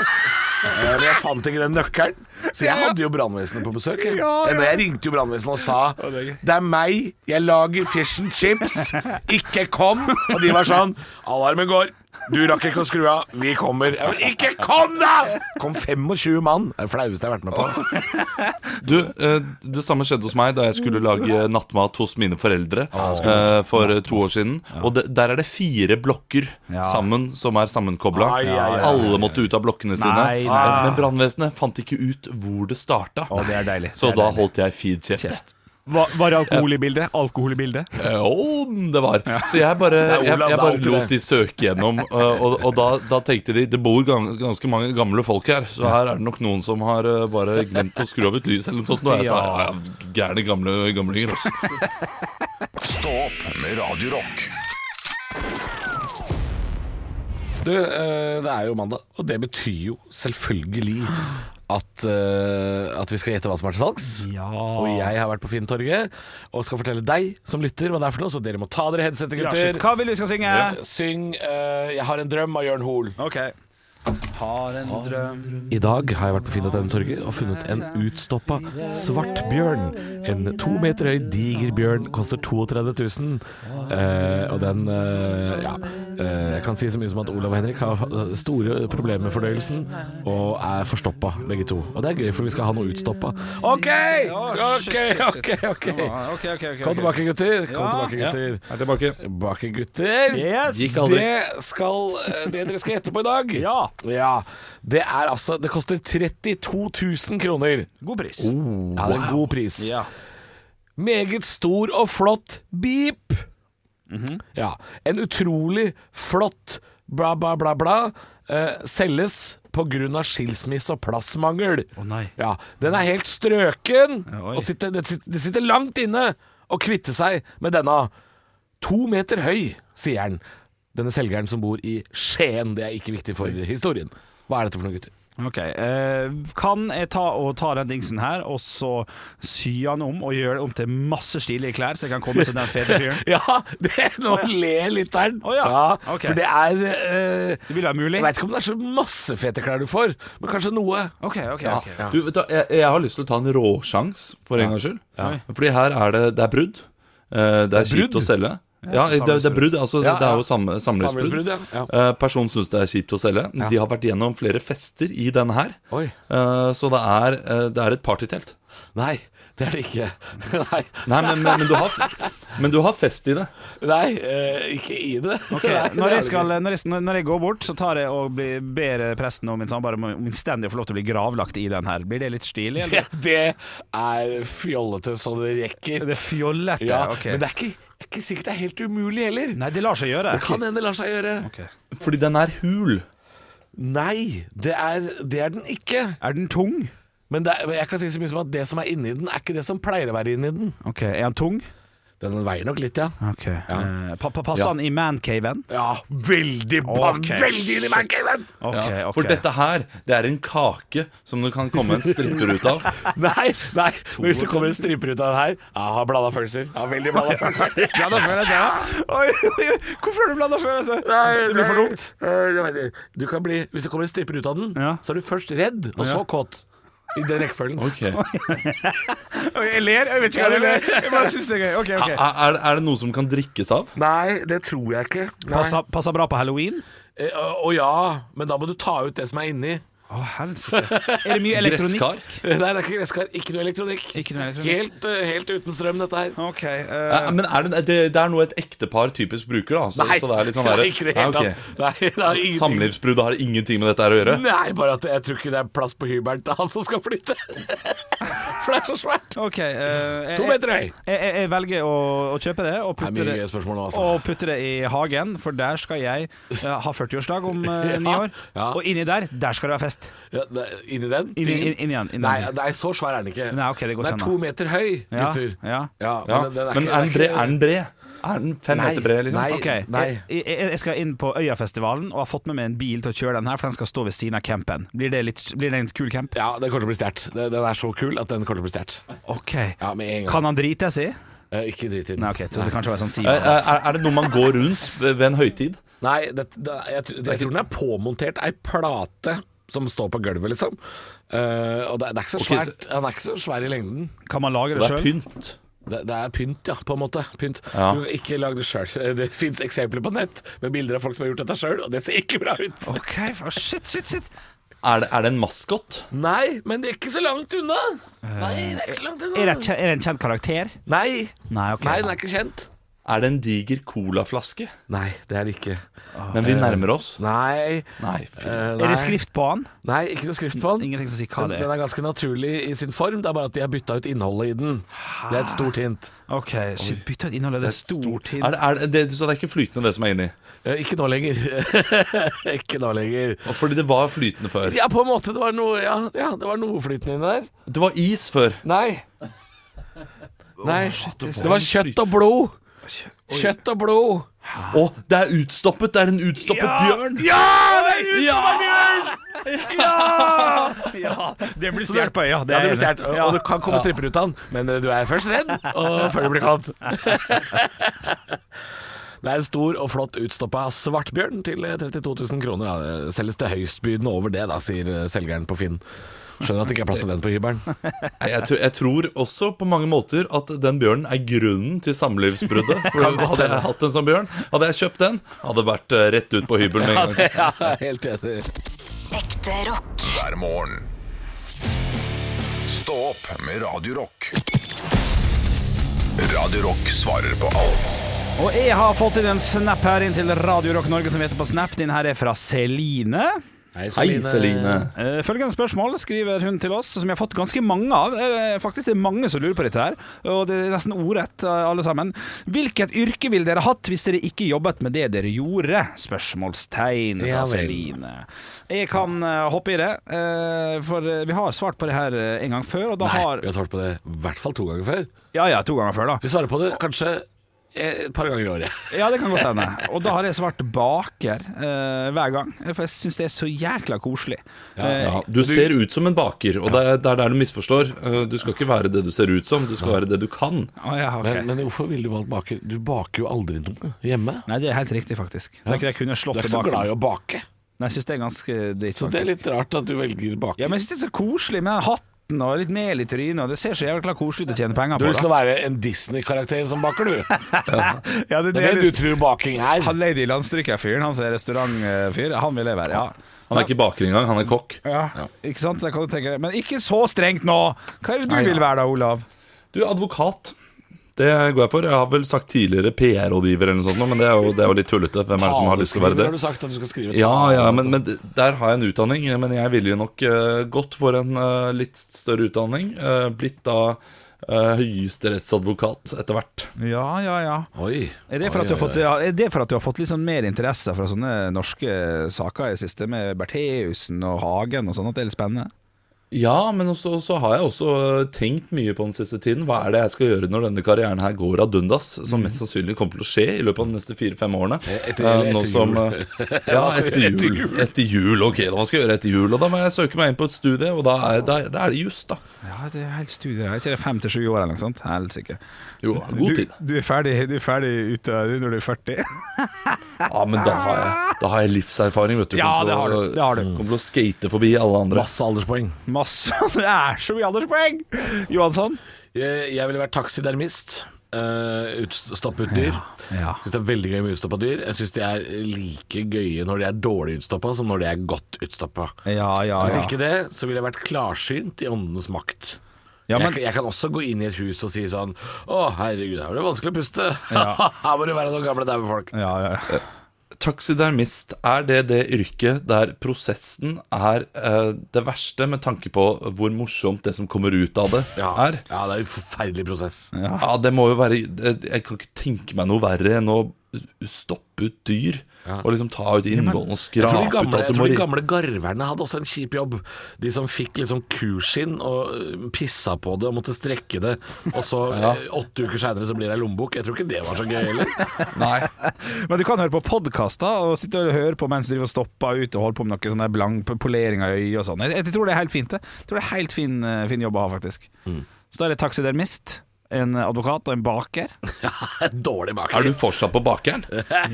Eh, Men jeg fant ikke den nøkkelen. Så jeg hadde jo brannvesenet på besøk. Jeg, Eh, når jeg ringte jo brannvesenet og sa
det er gøy.
Det er meg, jeg lager fish and chips, ikke kom! Og de var sånn Alarmen går. Du rakk ikke å skru av. Vi kommer. Jeg var, ikke kom, da! Kom 25 mann. Det er det flaueste jeg har vært med på.
Du, eh, det samme skjedde hos meg da jeg skulle lage nattmat hos mine foreldre
Ah,
eh, for eh, to år siden. Og det, der er det fire blokker
Ja.
sammen som er sammenkobla.
Ai, ai, ai, ai.
Alle måtte ut av blokkene sine.
Nei, nei.
Men- Men brannvesenet fant ikke ut hvor det starta.
Å, det er deilig.
Så
Det er
da
deilig.
holdt jeg feed kjeft.
Var, var det alkohol i bildet? Alkohol i bildet?
Eh, Å, det var. Så jeg bare, jeg,
Olav,
jeg
det er
bare
alltid det.
lot de søke gjennom. eh, Og, og da, da tenkte de det bor gan- ganske mange gamle folk her, så her er det nok noen som har eh, bare glemt å skru av et lys eller noe sånt. Og jeg sa ja, ja, gærne gamle altså." gamlinger også.
Stå opp med Radio Rock.
Du, eh, det er jo mandag, og det betyr jo selvfølgelig at, eh, at vi skal gjette hva som er til salgs. Og jeg har vært på Finntorget og skal fortelle deg som lytter hva det er for noe, så dere må ta dere headsetet,
Ja,
gutter.
shit. Hva vil du vi skal synge?
Syng eh, 'Jeg har en drøm' av Jørn Hoel.
Ok. Har en drøm
I dag har jeg vært på Finn.no-torget og funnet en utstoppa svartbjørn. En to meter høy diger bjørn, koster 32 000. Eh, og den eh, Ja. eh, jeg kan si så mye som at Olav og Henrik har eh, store problemer med fordøyelsen og er forstoppa, begge to. Og det er gøy, for vi skal ha noe utstoppa. OK! OK, OK, OK.
ok, ok, ok.
Kom tilbake, gutter. Kom
Ja.
tilbake, gutter.
Er tilbake.
Bak gutter.
Yes.
Gikk aldri.
Det, skal, eh, det dere skal gjette på i dag,
Ja.
Ja. det er altså Det koster 32 000 kroner.
God pris.
Ja, det er en god pris.
Ja.
Meget stor og flott beep.
Mhm.
Ja. En utrolig flott bla, bla, bla, bla eh, selges pga. skilsmisse og plassmangel.
Å, nei.
Ja, Den er helt strøken,
Ja, oi.
og sitter, det, sit- det sitter langt inne å kvitte seg med denne. To meter høy, sier han. Denne selgeren som bor i Skien. Det er ikke viktig for historien. Hva er dette for noe, gutter?
Ok, eh, Kan jeg ta, og ta den dingsen her, og så sy han om og gjøre det om til masse stilige klær, så jeg kan komme som den fete fyren?
[laughs] Ja, det, nå ler lytteren.
Å ja, ok.
For det er eh,
Det vil være mulig?
Jeg veit ikke om det er så masse fete klær du får, men kanskje noe.
Ok, ok,
Ja.
ok.
Du, vet du, jeg, jeg har lyst til å ta en råsjans for en gangs skyld. Fordi her er det, det er brudd. Eh, Det er kjipt å selge. Ja, det, er- det er brudd. Altså,
Ja,
Det
ja.
er jo samme- samlivsbrudd.
Samlivsbrudd, ja.
Eh, Personen syns det er kjipt å selge. De har vært gjennom flere fester i denne her.
Oi.
Eh, Så det er, eh, det er et partytelt.
Nei, det er det ikke. [laughs] Nei,
Nei, men, men, men, du har, men du har fest i det.
nei eh, ikke i det.
Ok,
[laughs] Nei, det
når
er
jeg,
det
skal,
ikke.
når, jeg, når jeg går bort, så tar jeg og blir, ber presten og min samboer om om innstendig å få lov til å bli gravlagt i den her. Blir det litt stilig?
det,
Eller?
det er fjollete så det rekker.
Det er fjollete.
Ja,
ok.
Men det er ikke, det er ikke sikkert det er helt umulig heller.
Nei, det lar seg gjøre.
Det kan hende det lar seg gjøre.
Ok.
Fordi den er hul.
Nei, det er, det er den ikke.
Er den tung?
Men det er, jeg kan si så mye som at det som er inni den, er ikke det som pleier å være inni den.
Ok, Er den tung?
Den veier nok litt, ja.
Ok Eh, pa pa Passer
Ja.
han i mancaven?
Ja, veldig bra.
Ok,
Veldig inn i mancaven!
Ok,
Ja,
ok.
For dette her, det er en kake som det kan komme en stripper ut av.
[laughs] Nei, nei. Men hvis det kommer en striper ut av det her Ja, har blanda følelser. Ja, veldig [laughs] blanda følelser. blanda følelser, ja.
[laughs] Oi, oi, oi. Hvorfor har du blanda følelser? Det blir for dumt.
dumt. Du kan bli, hvis det kommer en stripper ut av den,
Ja.
så er du først redd, og så kåt. I den rekkefølgen.
Ok Er,
Oi, Jeg ler, jeg vet ikke hva jeg ler. Jeg bare syns det er gøy. Ok, ok
er, er det noe som kan drikkes av?
Nei, det tror jeg ikke. Nei.
Passer, passer bra på halloween?
Eh, Å å ja, men da må du ta ut det som er [laughs] inni.
Å, helsike. Er det mye elektronikk?
Gresskar?
Nei, det er ikke gresskar. Ikke noe elektronikk.
Ikke noe elektronikk.
Helt, eh, helt uten strøm, dette her.
Ok.
Ja,
eh,
men er det, det, det er noe et ektepar typisk bruker, da. Så, så det er litt sånn der,
Nei, [laughs] ikke det hele
Ja, ok.
tatt. Nei, det er ingenting.
Samlivsbrudd har ingenting med dette her å gjøre.
[laughs] Nei, bare at jeg tror ikke det er plass på hybelen til han som skal flytte. [laughs] For det er så svært.
ok, eh,
To
jeg,
meter høy.
jeg, jeg, jeg velger å, å kjøpe det og putte det,
spørsmål nå, altså.
og putte det i hagen, for der skal jeg eh, ha 40-årsdag om eh, ni
[laughs] Ja,
år.
ja.
Og inni der, der skal det være fest.
Ja, det- inni den?
Inni-
tingen?
inn- inni den, inni den.
nei, nei, så svær er den ikke.
Nei, ok, det går
den
sånn,
er
da.
to meter høy,
Ja,
gutter.
ja.
Ja,
Ja.
den- den
Men
ikke-
er den bred?
ikke-
Er den, bred? Er den fem
Nei.
meter bred, liksom?
Nei.
Ok, jeg, jeg, jeg skal inn på Øyafestivalen og har fått med meg en bil til å kjøre den her, for den skal stå ved siden av campen. Blir det, litt, blir det en kul camp?
Ja, den kommer til å bli stjålet. Den den er så kul at den kommer til å bli stjålet.
Ok.
Ja, med en gang.
Kan han drite seg i?
Eh, ikke drit i den.
Nei, ok, jeg trodde det kanskje var sånn
Er,
Simon.
Eh, er, er det noe man går rundt ved ved en høytid?
Nei, det, det, jeg, tr- jeg tror den er påmontert ei plate som står på gulvet, liksom. Eh, og det, det er ikke så
Ok, så-
svært, han er ikke så svær i lengden.
Kan man
Det
lage det
er
sjøl?
pynt.
Det, det er pynt, ja, på en måte. Pynt.
Ja.
Du kan ikke lage det sjøl. [laughs] Det fins eksempler på nett med bilder av folk som har gjort dette sjøl, og det ser ikke bra ut.
Ok, for- shit, shit, shit.
Er det, er det en maskot?
Nei, men det er ikke så langt unna. Nei, det er ikke så langt
Er
unna.
det, kje- er det en kjent karakter?
Nei,
Nei, ok.
nei, den er ikke kjent.
Er det en diger colaflaske?
Nei, det er det ikke.
Men vi nærmer oss.
Nei.
Nei, fy.
eh,
Er
nei.
det skrift på han?
Nei, ikke noe skrift på den.
Ingenting som sier hva
Den
det
den
er.
er ganske naturlig i sin form, det er bare at de har bytta ut innholdet i den. Det er et stort hint.
Ok, shit, bytt ut innholdet. Det er stort hint.
Er det, er det, det, så det er ikke flytende, det som er inni?
Eh, Ikke nå lenger. [laughs] ikke nå lenger.
Og Fordi det var flytende før.
Ja, på en måte. Det var noe, ja, ja, det var noe flytende inni der.
Det var is før.
Nei. Nei. Det var kjøtt og blod. Kjøtt og blod.
Å, det er utstoppet! Det er en utstoppet bjørn!
Ja, det er
Ja!
Det blir stjålet på øya.
Ja, det blir
er jeg
stjålet.
enig i.
Og det kan komme stripper ut av den, men eh, du er først redd, og før du blir kalt.
[laughs]
Det er en stor og flott utstoppa svartbjørn til eh, 32 000 kroner. Da. Det Selges til høystbydende over det, da, sier eh, selgeren på Finn. Skjønner at det ikke er plass til den på
[laughs]
hybelen.
Nei, Jeg, tror- jeg tror også på mange måter at den bjørnen er grunnen til samlivsbruddet. For Hadde jeg hatt en sånn bjørn, hadde jeg kjøpt den, hadde det vært eh, rett ut på hybelen med en gang.
Ja, helt enig.
Ekte rock.
hver morgen. Stå opp med Radio Rock. Radio Rock svarer på alt.
Og jeg har fått inn en snap her inn til Radio Rock Norge, som heter på Snap. Din her er fra Celine.
Hei, Celine.
Eh, Følgende spørsmål skriver hun til oss, som jeg har fått ganske mange av. Eh, Faktisk det er mange som lurer på dette her, og det er nesten ordrett eh, alle sammen. Hvilket yrke ville dere hatt hvis dere ikke jobbet med det dere gjorde? Spørsmålstegn fra
Ja vel.
Celine. Jeg kan eh, hoppe i det, eh, for eh, vi har svart på det her eh, en gang før, og da
Nei,
har
vi har svart på det i hvert fall to ganger før.
Ja ja, to ganger før, da.
Vi svarer på det kanskje eh, et par ganger i året.
Ja, det kan godt hende.
[laughs]
Og da har jeg svart baker eh, hver gang, for jeg syns det er så jækla koselig. Eh,
Ja, du ser ut som en baker, og det er det er der du misforstår. Eh, Du skal ikke være det du ser ut som, du skal være det du kan.
å ja, ok.
Men, men hvorfor ville du valgt baker? Du baker jo aldri noe hjemme.
Nei, det er helt riktig, faktisk. Det er ikke det jeg kunne slått
Du er ikke så
tilbake.
glad i å bake.
Nei, jeg syns det er ganske dritt,
Så det er
faktisk.
litt rart at du velger baker.
Ja, men jeg syns det er så koselig med den hatten og litt mel i trynet, og det ser så jævla koselig ut å tjene penger
Du
på.
har lyst til å være en Disney-karakter som baker, [laughs] du.
da. Ja, det,
Det
er
er det
litt-
du tror baking er.
Han lady landstrykerfyren, han som er restaurantfyr, han vil jeg være, ja.
Han er ikke baker engang, han er kokk.
ja. Ikke sant? Det kan du tenke. Men ikke så strengt nå! Hva er det du vil være da, Olav?
Du, advokat. Det går jeg for. Jeg har vel sagt tidligere PR-rådgiver eller noe sånt, nå, men det er jo, det er jo litt tullete. Hvem er det som har lyst til å være det?
Har du sagt at du skal skrive
Ja, ja, men, men der har jeg en utdanning. Men jeg ville jo nok eh, gått for en eh, litt større utdanning. eh, blitt da eh, høyesterettsadvokat etter hvert.
Ja, ja, ja.
Oi.
Er det, for at du har fått, ja, er det for at du har fått litt sånn mer interesse fra sånne norske saker i det siste, med Bertheussen og Hagen og sånn, at det er litt spennende?
Ja, men også, så har jeg også eh, tenkt mye på den siste tiden. Hva er det jeg skal gjøre når denne karrieren her går ad undas?
Mm.
Som mest sannsynlig kommer til å skje i løpet av de neste fire-fem årene. Eh,
etter- etter
nå som,
jul.
eh, ja,
[laughs]
etter jul. Etter jul, ok. Da skal jeg gjøre etter jul. Og da må jeg søke meg inn på et studie, og da er, da, da er det juss, da.
Ja, det er helt studie. Er ikke det fem til sju år eller noe sånt? Helsike.
Jo, god tid.
Du, du, er ferdig, du er ferdig ute av det når du er 40.
Ja, men da har jeg, da har jeg livserfaring, vet du.
Ja,
Kommer
det
til
har
å-
du, det har du.
Kommer til å skate forbi alle andre.
Masse alderspoeng.
[laughs] Masse. Det er så mye alderspoeng! Johansson?
Jeg, jeg ville vært taxidermist. Uh, ut, stappe ut dyr.
Ja.
Syns det er veldig gøy med utstoppa dyr. Jeg syns de er like gøye når de er dårlig utstoppa, som når de er godt utstoppa.
Ja, ja,
Hvis
ja.
ikke det, så ville jeg vært klarsynt i åndenes makt.
Ja, men-
jeg, jeg kan også gå inn i et hus og si sånn Å, herregud, her var det vanskelig å puste. [laughs] her må det være noen gamle daue folk.
Ja, ja, ja.
Taxidermist, er det det yrket der prosessen er eh, det verste, med tanke på hvor morsomt det som kommer ut av det,
Ja.
er?
ja, det er en forferdelig prosess.
Ja, det må jo være eh, Jeg kan ikke tenke meg noe verre enn å stoppe ut dyr. Og liksom ta ut innvollene og
Jeg
skrape
tror, de
ut
gamle,
at
jeg
du
tror
må
de
ri-
gamle garverne hadde også en kjip jobb. De som fikk liksom kuskinn og øh, pissa på det og måtte strekke det, og så øh, åtte uker seinere så blir det ei lommebok. Jeg tror ikke det var så gøy heller. [laughs]
Nei.
[laughs] Men du kan høre på podkaster og sitte og høre på mens du driver og stopper ut og holder på med noe sånn der blank polering av øyet og sånn. Jeg, jeg tror det er helt fint, det. Jeg tror det er helt fin, eh, fin jobb å ha, faktisk. Så da er det taxidermist, en advokat og en baker.
Dårlig
Er
baker.
du fortsatt på
[laughs]
bakeren?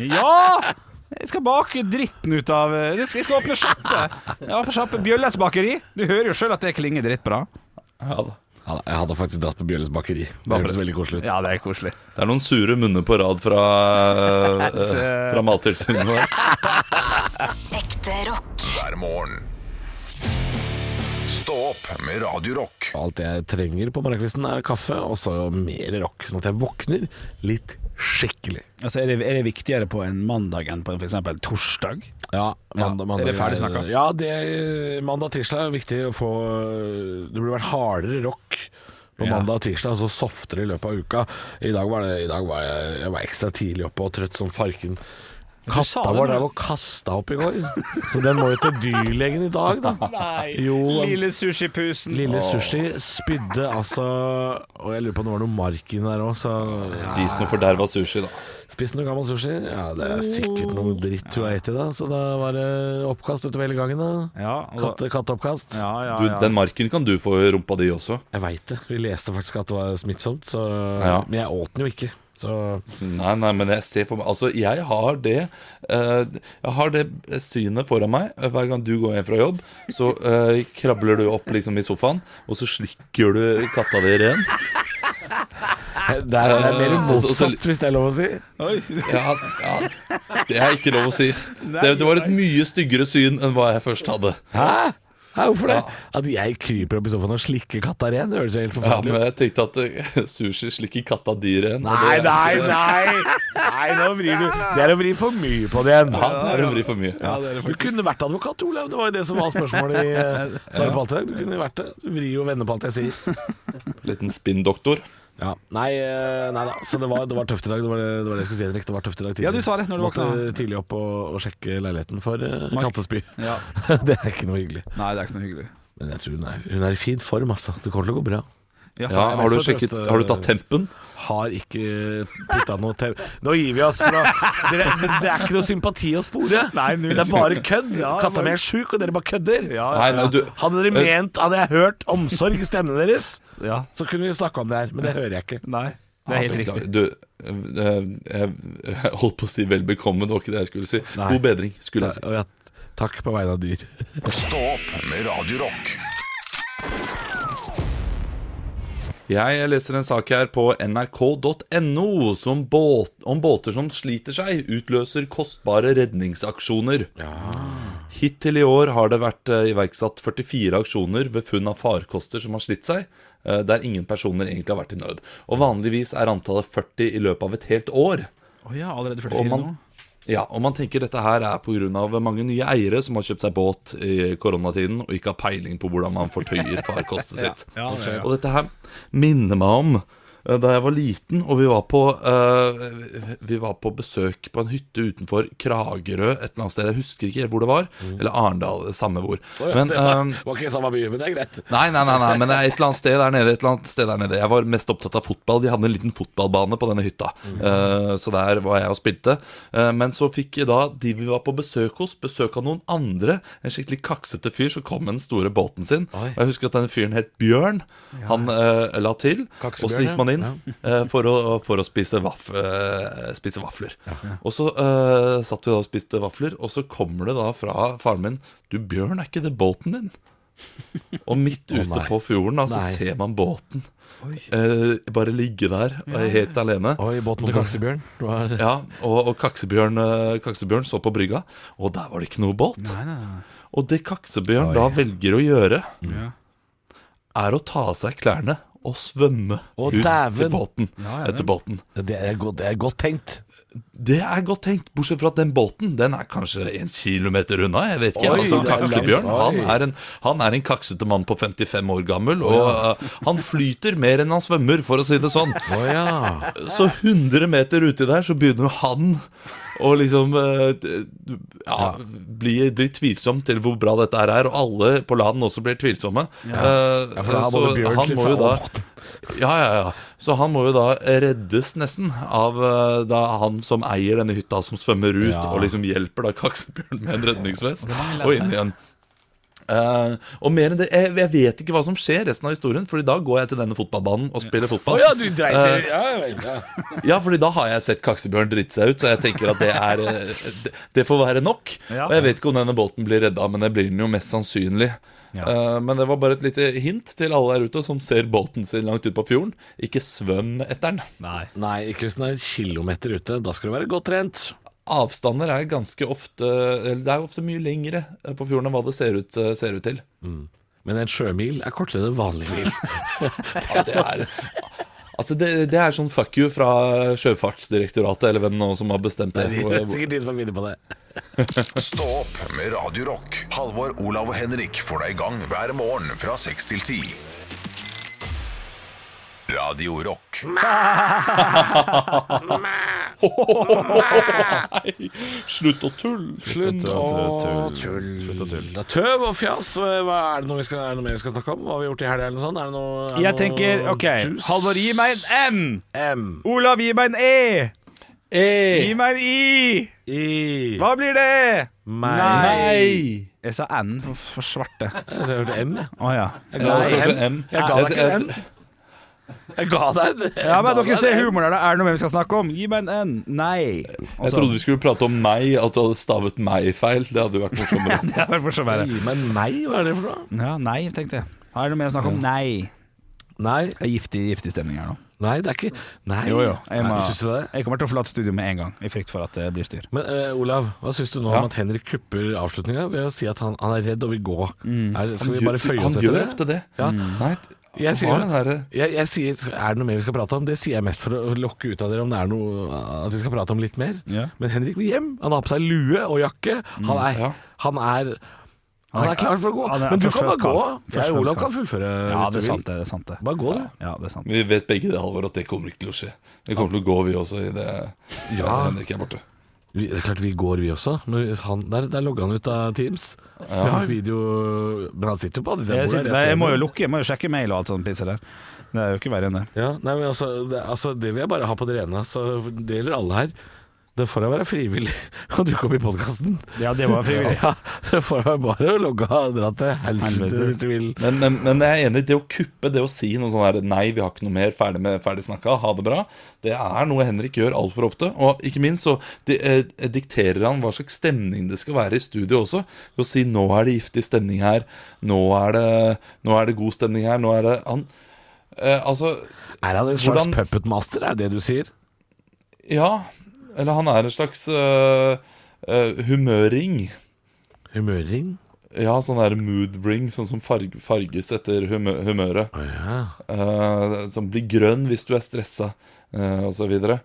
Ja! Jeg skal bake dritten ut av eh, Jeg skal, jeg skal åpne sjappe. Jeg åpner sjappe Bjølles bakeri. Du hører jo sjøl at det klinger drittbra.
Ja da.
Ja, jeg hadde faktisk dratt på Bjørles bakeri. Det høres veldig koselig ut.
Ja, det er koselig.
Det er noen sure munner på rad fra, eh, eh, fra Mattilsynet. der.
Ekte rock.
hver morgen. Stå opp med Radio Rock.
Alt jeg trenger på morgenkvisten er kaffe og så mer rock, sånn at jeg våkner litt skikkelig.
Altså, er, det, er det viktigere på en mandag enn på en f.eks. torsdag?
Ja, mandag,
Ja, er det ferdig snakka?
Ja, det, mandag-tirsdag er viktig å få Det burde vært hardere rock på
Ja.
mandag og tirsdag, og så softere i løpet av uka. I dag var, det, i dag var jeg, jeg var ekstra tidlig oppe og trøtt som farken.
sa
Katta
det,
vår
men-
drev og kasta opp i går, så den må jo til dyrlegen i dag,
[laughs]
da. Jo, den-
Lille sushipusen.
Lille sushi spydde altså Og jeg lurer på om det var noe mark inni der òg, så
Spis noe forderva sushi, da.
Spist noe gammel sushi? Ja, det er sikkert noe
Mm.
dritt hun har spist i da. Så da var det oppkast utover hele gangen, da.
Ja, og da-
Katte, katteoppkast.
ja, ja,
Du,
ja.
den marken kan du få i rumpa di også.
Jeg veit det. Vi leste faktisk at det var smittsomt, så
Ja.
Men jeg åt den jo ikke. Så
Nei, nei, men jeg ser for meg Altså, jeg har det eh, Jeg har det synet foran meg eh, Hver gang du går hjem fra jobb Så eh, krabler du opp liksom i sofaen Og så slikker du katta di ren
det er, det er mer
Eh, [laughs] så- så-
motsatt, hvis det er lov å si.
Oi.
ja, ja, Det er ikke lov å si det, det var et mye styggere syn enn hva jeg først hadde
Hæ? Hæ, hvorfor det? At jeg kryper opp i sofaen og slikker katta ren, det høres jo helt
Ja,
forferdelig ut.
men jeg tenkte at eh, sushi slikker katta di ren og
Nei,
det er-
nei, nei! Nei, nå vrir du Det er å vri for mye på det igjen.
Ja, det er å vri for mye
Du kunne vært advokat, Olav. Det var jo det som var spørsmålet
[laughs]
i eh, Sara Palte. Du kunne vært det. Du vrir jo og vender på alt jeg sier.
Liten spinndoktor
Ja. Nei, eh, nei da. Så det var, det var tøft i dag. Det var det, det var det jeg skulle si, Henrik. Det var tøft i dag tidlig.
Ja, du sa det når du
Måtte
våkna.
tidlig opp og, og sjekke leiligheten for eh,
Mark.
kattespy. [laughs]
Ja.
det er ikke noe hyggelig.
Nei, det er ikke noe hyggelig.
Men jeg tror hun er, hun er i fin form, altså. Det kommer til å gå bra.
Ja,
ja,
så-
har, du sjekket, har du tatt tempen?
Har ikke putta noe til Nå gir vi oss, for nå dere, det, det er ikke noe sympati å spore.
Nei, null.
det er bare kødd. Katta mi er sjuk, og dere bare kødder.
Nei, nei, du Eh,
Hadde dere ment, hadde jeg hørt omsorg i stemmen deres,
ja.
så kunne vi snakka om det her, men det hører jeg ikke.
Nei, det er helt riktig.
Du, eh, jeg jeg [laughs] holdt på å si vel bekomme, det var ikke det jeg skulle si.
Nei.
God bedring, skulle jeg si.
Og ja, takk på vegne av dyr.
Stå opp med Radio Rock.
Jeg leser en sak her på nrk.no som båt, om båter som sliter seg, utløser kostbare redningsaksjoner. Hittil i år har det vært eh, iverksatt 44 aksjoner ved funn av farkoster som har slitt seg, eh, der ingen personer egentlig har vært i nød. Og vanligvis er antallet 40 i løpet av et helt år.
Å ja, allerede
Og
44
man,
nå?
ja, og man tenker dette her er pga. mange nye eiere som har kjøpt seg båt i koronatiden og
[laughs]
ikke har peiling på hvordan man fortøyer farkostet sitt. Og dette her minner meg om eh, da jeg var liten, og vi var på eh, Vi var på besøk på en hytte utenfor Kragerø et eller annet sted. Jeg husker ikke hvor det var. Eller Arendal, samme hvor.
Mm. Å ja,
Men,
[laughs] det var,
eh,
var ikke i samme by, men det er greit.
Nei, nei, nei, nei, men det er et eller annet sted der nede. Et eller annet sted der nede Jeg var mest opptatt av fotball. De hadde en liten fotballbane på denne hytta.
Mhm.
Eh, så der var jeg og spilte. Eh, men så fikk da de vi var på besøk hos, besøk av noen andre. En skikkelig kaksete fyr som kom med den store båten sin.
Oi.
Og Jeg husker at den fyren het Bjørn. Han eh, la til, og
Kaksebjørn,
så gikk man inn
ja.
eh, for, å, for å spise, vaff, eh, spise vafler. Og så eh, satt vi da og spiste vafler, og så kommer det da fra faren min Du, Bjørn, er ikke det båten din? Og midt
Å,
ute
nei.
på fjorden da, så
Nei.
ser man båten
Oi.
eh, bare ligge der eh, helt alene.
Oi, båten til Kaksebjørn. Det var-
Ja, og, og kaksebjørn, eh, kaksebjørn så på brygga, og der var det ikke noe båt.
Nei, nei, nei.
Og det Kaksebjørn da velger å gjøre,
Mm.
Ja.
er å ta av seg klærne og svømme
Å,
ut
dæven.
til båten,
Ja, ja,
etter
vel.
båten.
Det, er godt, det er godt tenkt.
Det er godt tenkt, bortsett fra at den båten Den er kanskje en kilometer unna. Jeg vet ikke,
Oi,
altså
det er langt.
Kaksebjørn han
Oi.
er, en, han er en kaksete mann på 55 år gammel, og eh, han flyter mer enn han svømmer, for å si det sånn.
Å [laughs] ja.
Så 100 meter uti der så begynner han å liksom eh, d- ja, bli, bli tvilsom til hvor bra dette her er, og alle på land også blir tvilsomme. Eh,
for da er både Bjørn
han
litt
må jo da
sånn,
Ja, ja, ja. Så han må jo da reddes nesten av eh, da han som eier denne hytta, som svømmer ut
Ja.
og liksom hjelper da Kaksebjørn med en redningsvest
mange
og
ledd
inn igjen. Eh, og mer enn det, jeg, jeg vet ikke hva som skjer resten av historien, Fordi da går jeg til denne fotballbanen og spiller fotball.
Å ja, du dreit i
Eh,
det. Ja vel. Ja.
ja, fordi da har jeg sett kaksebjørn drite seg ut, så jeg tenker at det, er, eh, det- det får være nok.
Ja.
Og jeg vet ikke om denne båten blir redda, men det blir den jo mest sannsynlig.
Ja.
Eh, Men det var bare et lite hint til alle der ute som ser båten sin langt ut på fjorden. Ikke svøm etter den.
Nei.
Nei, ikke hvis den er en kilometer ute. Da skal du være godt trent.
Avstander er ganske ofte eller Det er ofte mye lengre eh, på fjorden enn hva det ser ut, eh, ser ut til.
Men en sjømil er kortere enn en vanlig mil.
Ja, det er Altså, det, det er sånn fuck you fra Sjøfartsdirektoratet, eller hvem nå som har bestemt det.
[laughs] Det er sikkert de som har vunnet på det.
Stå opp med Radio Rock. Halvor, Olav og Henrik får deg i gang hver morgen fra 6 til 10. Radio Rock.
Slutt å tulle!
Slutt
Slutt å
å
tull.
tull.
Slutt å tull.
Det er Tøv og fjas. Hva er det noe vi skal, er det noe mer vi skal snakke om? Hva har vi gjort i helga, eller noe sånt? Er det noe, er det
Jeg
noe
tenker OK.
juice?
Halvor, gi meg en M.
M.
Olav, gi meg en E. Gi
Hey.
meg en I.
I.
Hva blir det?
Meg.
Nei!
Jeg sa N for- for svarte.
Jeg hørte M, jeg.
Å ja.
ga
Nei,
deg
M.
en. Jeg ga deg ikke en. Jeg ga deg en.
Ja, men
Jeg ga
dere
deg
ser
en.
humoren her. da. Er det noe mer vi skal snakke om? Gi meg en N. Nei. Altså,
Jeg
Altså,
trodde vi skulle prate om meg, at du hadde stavet meg feil. Det hadde jo vært
[laughs]
morsommere.
Det er vel morsommere.
Gi meg meg, hva er det for noe?
Ja, nei, tenkte jeg. Er det noe mer å snakke om? Nei.
Nei,
Det er giftig, giftig stemning her nå.
nei, det er ikke Nei,
Jeg,
Nei,
må,
syns du det?
jeg kommer til å forlate studio med en gang, i frykt for at det blir styr.
Men eh, Olav, hva syns du nå
Ja.
om at Henrik kupper avslutninga ved å si at han, han er redd og vil gå?
Mm.
Er, skal vi bare føye
han
oss
gjør
etter
ofte
det?
det. Mm.
Ja.
Nei,
Jeg
jeg
sier
har
det.
den derre
Jeg, jeg sier, Er det noe mer vi skal prate om? Det sier jeg mest for å lokke ut av dere om det er noe at vi skal prate om litt mer.
Ja. Mm,
Men Henrik vil hjem. Han har på seg lue og jakke. Han er,
ja.
han er
Han
han
er-
er klar for å gå.
han er
Men du kan bare gå.
førsteklassekar.
Jeg og Olav kan
Førsteklassekar. Ja,
fullføre
det er
hvis du
sant,
vil.
det. er sant det
Bare gå, du.
Ja, det er sant.
Vi vet begge det, Halvor, at det kommer ikke til å skje. Vi kommer til å gå, vi også, i det ja. Henrik er borte.
Vi, det er klart vi går, vi også. Men han, der, der logga han ut av Teams. Vi har [laughs] video Men han sitter jo på andre siden av
Jeg,
bordet,
sitter,
ser
jeg må
det.
jo lukke, jeg må jo sjekke mail og alt sånt pisset der. Det er jo ikke verre enn det.
Ja, nei, men altså det, altså det vil jeg bare ha på det rene. Så det gjelder alle her. Det får da være frivillig [laughs] å dukke opp i podkasten.
Ja, det var frivillig.
Ja, det får da være bare å logge av og dra til helvete
Helvete.
hvis du vil.
Men, men, men jeg er enig, det å kuppe, det å si noe sånn her Nei, vi har ikke noe mer, ferdig, med, ferdig snakka, ha det bra. Det er noe Henrik gjør altfor ofte. Og ikke minst så di, eh, dikterer han hva slags stemning det skal være i studio også. Ved å si 'nå er det giftig stemning her', 'nå er det, nå er det god stemning her', 'nå er det Han eh, Altså,
Er han en slags
Hvordan-
puppetmaster, er det du sier?
ja. Eller han er en slags eh, eh, humøring.
Humøring?
Ja, sånn der mood ring, sånn som farg, farges etter humø humøret.
Å ja.
Eh, som blir grønn hvis du er stressa, eh, og så videre.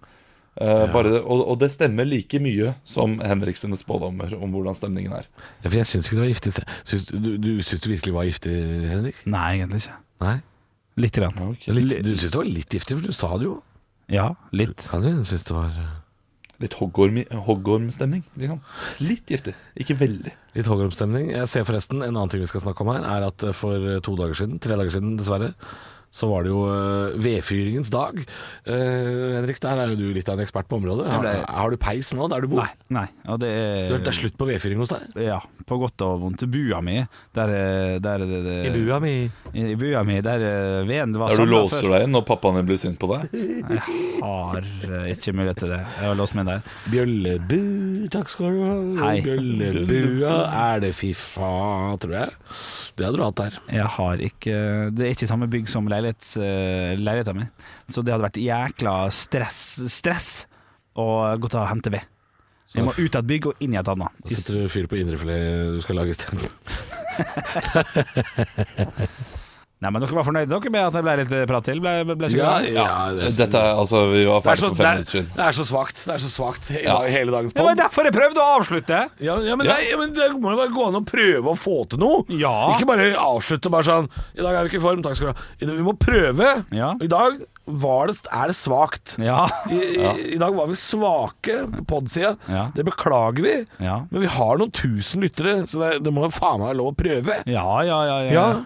Eh, bare det, og, og det stemmer like mye som Henrik sine spådommer om hvordan stemningen er.
ja for jeg syns ikke det var giftig. Syns, du, du syns det virkelig var giftig, Henrik?
Nei, egentlig ikke.
Nei?
Litt. Grann.
Litt, du syns det var litt giftig, for du sa det jo.
Ja, litt.
Kan du synes det var
Litt hoggorm, hoggormstemning. Liksom. Litt giftig. Ikke veldig.
Litt Hågorm-stemning. Jeg ser forresten en annen ting vi skal snakke om her, er at for eh, to dager siden, tre dager siden dessverre, så var det jo eh, vedfyringens dag. Eh, Henrik, der er jo du litt av en ekspert på området.
Jeg
Har,
ble-
har du peis nå der du bor?
Nei. Og det
Oh. Du,
er
det er slutt på vedfyring hos deg?
Ja, på godt og vondt. Bua mi, der, eh, der det- det-
I bua mi.
I bua mi, der eh, veden var
Der du
samlet
låser
før.
deg inn når pappaen din blir sint på deg.
Har eh, ikke mulighet til det. Jeg har låst meg der.
Bjøllebu, takk skal du ha.
Hei.
Bjøllebua er det fifa, tror jeg. Det hadde du hatt der.
Jeg har ikke Det er ikke samme bygg som leilighets, eh, leiligheten min. Så det hadde vært jækla stress, stress å gå til å hente ved. Jeg må ut av et bygg og inn i et annet.
Da setter du fyr på indrefilet du skal lage i stedet.
Nei, men Dere var fornøyde dere med at jeg ble litt eh, prat til? Ble, ble, ble så glad?
det er-
Dette er, altså, Vi var
Det er,
ferdig
så,
for
det,
fem
er,
minutter siden.
det er så svakt. Det er så svakt i
Ja.
dag, hele dagens
Det var
podd.
derfor jeg prøvde å avslutte!
Ja, ja, men,
Ja.
Nei, men det må jo være gå an å prøve å få til noe.
Ja.
Ikke bare avslutte bare sånn I dag er vi ikke i form, takk skal du ha. I dag- Vi må prøve.
Ja.
I dag var det, er det svakt.
Ja.
I, i, I dag var vi svake på podsida.
Ja.
Det beklager vi.
Ja,
Men vi har noen tusen lyttere, så det, det må jo faen meg være lov å prøve.
ja, ja. ja, ja.
Ja.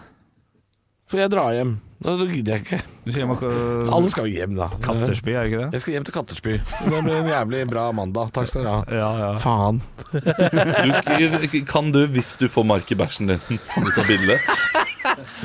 For jeg drar hjem. Nå gidder jeg ikke.
Du sier noe
Alle skal jo hjem, da.
Kattersby, er det ikke det?
Jeg skal hjem til Kattersby. Det blir en jævlig bra mandag. Takk skal dere ha.
Ja, ja.
Faen.
Du, kan du, hvis du får mark i bæsjen din, [laughs] ta bilde?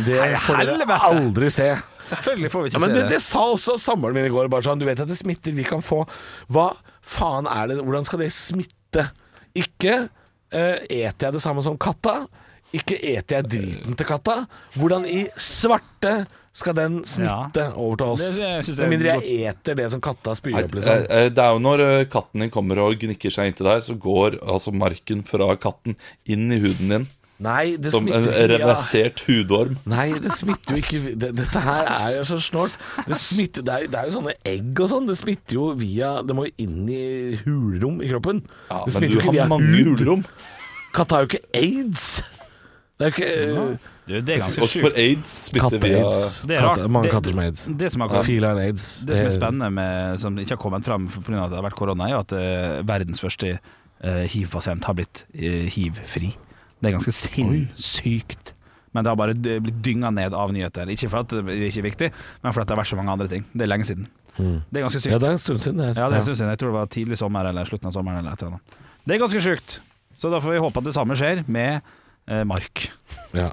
Det får dere aldri se.
Selvfølgelig får vi
Ja,
ikke
men det,
se det.
det sa også samboeren min i går. Bare sånn, du vet at det smitter, vi kan få Hva faen er det Hvordan skal det smitte? Ikke eh, eter jeg det samme som katta. Ikke eter jeg driten til katta. Hvordan i svarte skal den smitte over til oss?
Det- det synes jeg er
Med mindre jeg
godt.
eter det som katta spyr
Nei,
opp, liksom.
eh, eh, Det er jo når eh, katten din kommer og gnikker seg inntil deg, så går altså marken fra katten inn i huden din
Nei, det
som en
smitter ikke via-
reversert hudorm.
Nei, det smitter jo ikke det, Dette her er jo så snålt. Det, smitter- det, er- det er jo sånne egg og sånn. Det smitter jo via Det må jo inn i hulrom i kroppen.
Ja, men
det smitter
du
jo ikke via
har mange
hud.
hulrom.
Katt har jo ikke aids. Det er jo ikke eh,
Du, det er ganske
Også for
sjukt.
aids smitter via
katte-aids.
Det er
Katte-
rart.
Mange
Det-
katter som har aids.
Det som har
Feline-aids.
Det som er spennende, med, som ikke har kommet frem pga. at det har vært korona, er jo at eh, verdens første eh, hiv-pasient har blitt eh, hiv-fri. Det er ganske sinnssykt. Men det har bare d- blitt dynga ned av nyheter. Ikke for at det ikke er viktig, men fordi det har vært så mange andre ting. Det er lenge siden. Mm. Det er ganske
Ja,
sykt.
det er en stund siden det her.
Ja, det synes jeg. Jeg tror det var tidlig sommer eller slutten av sommeren eller et eller annet. Det er ganske sjukt. Så da får vi håpe at det samme skjer med eh, Mark.
Ja.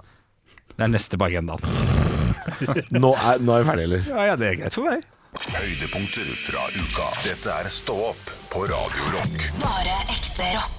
Det er neste på agendaen.
Nå, er, nå er vi ferdige, eller?
Ja, ja, det er greit for meg.
Høydepunkter fra uka. Dette er Stå opp på Radio Rock.
Bare ekte rock.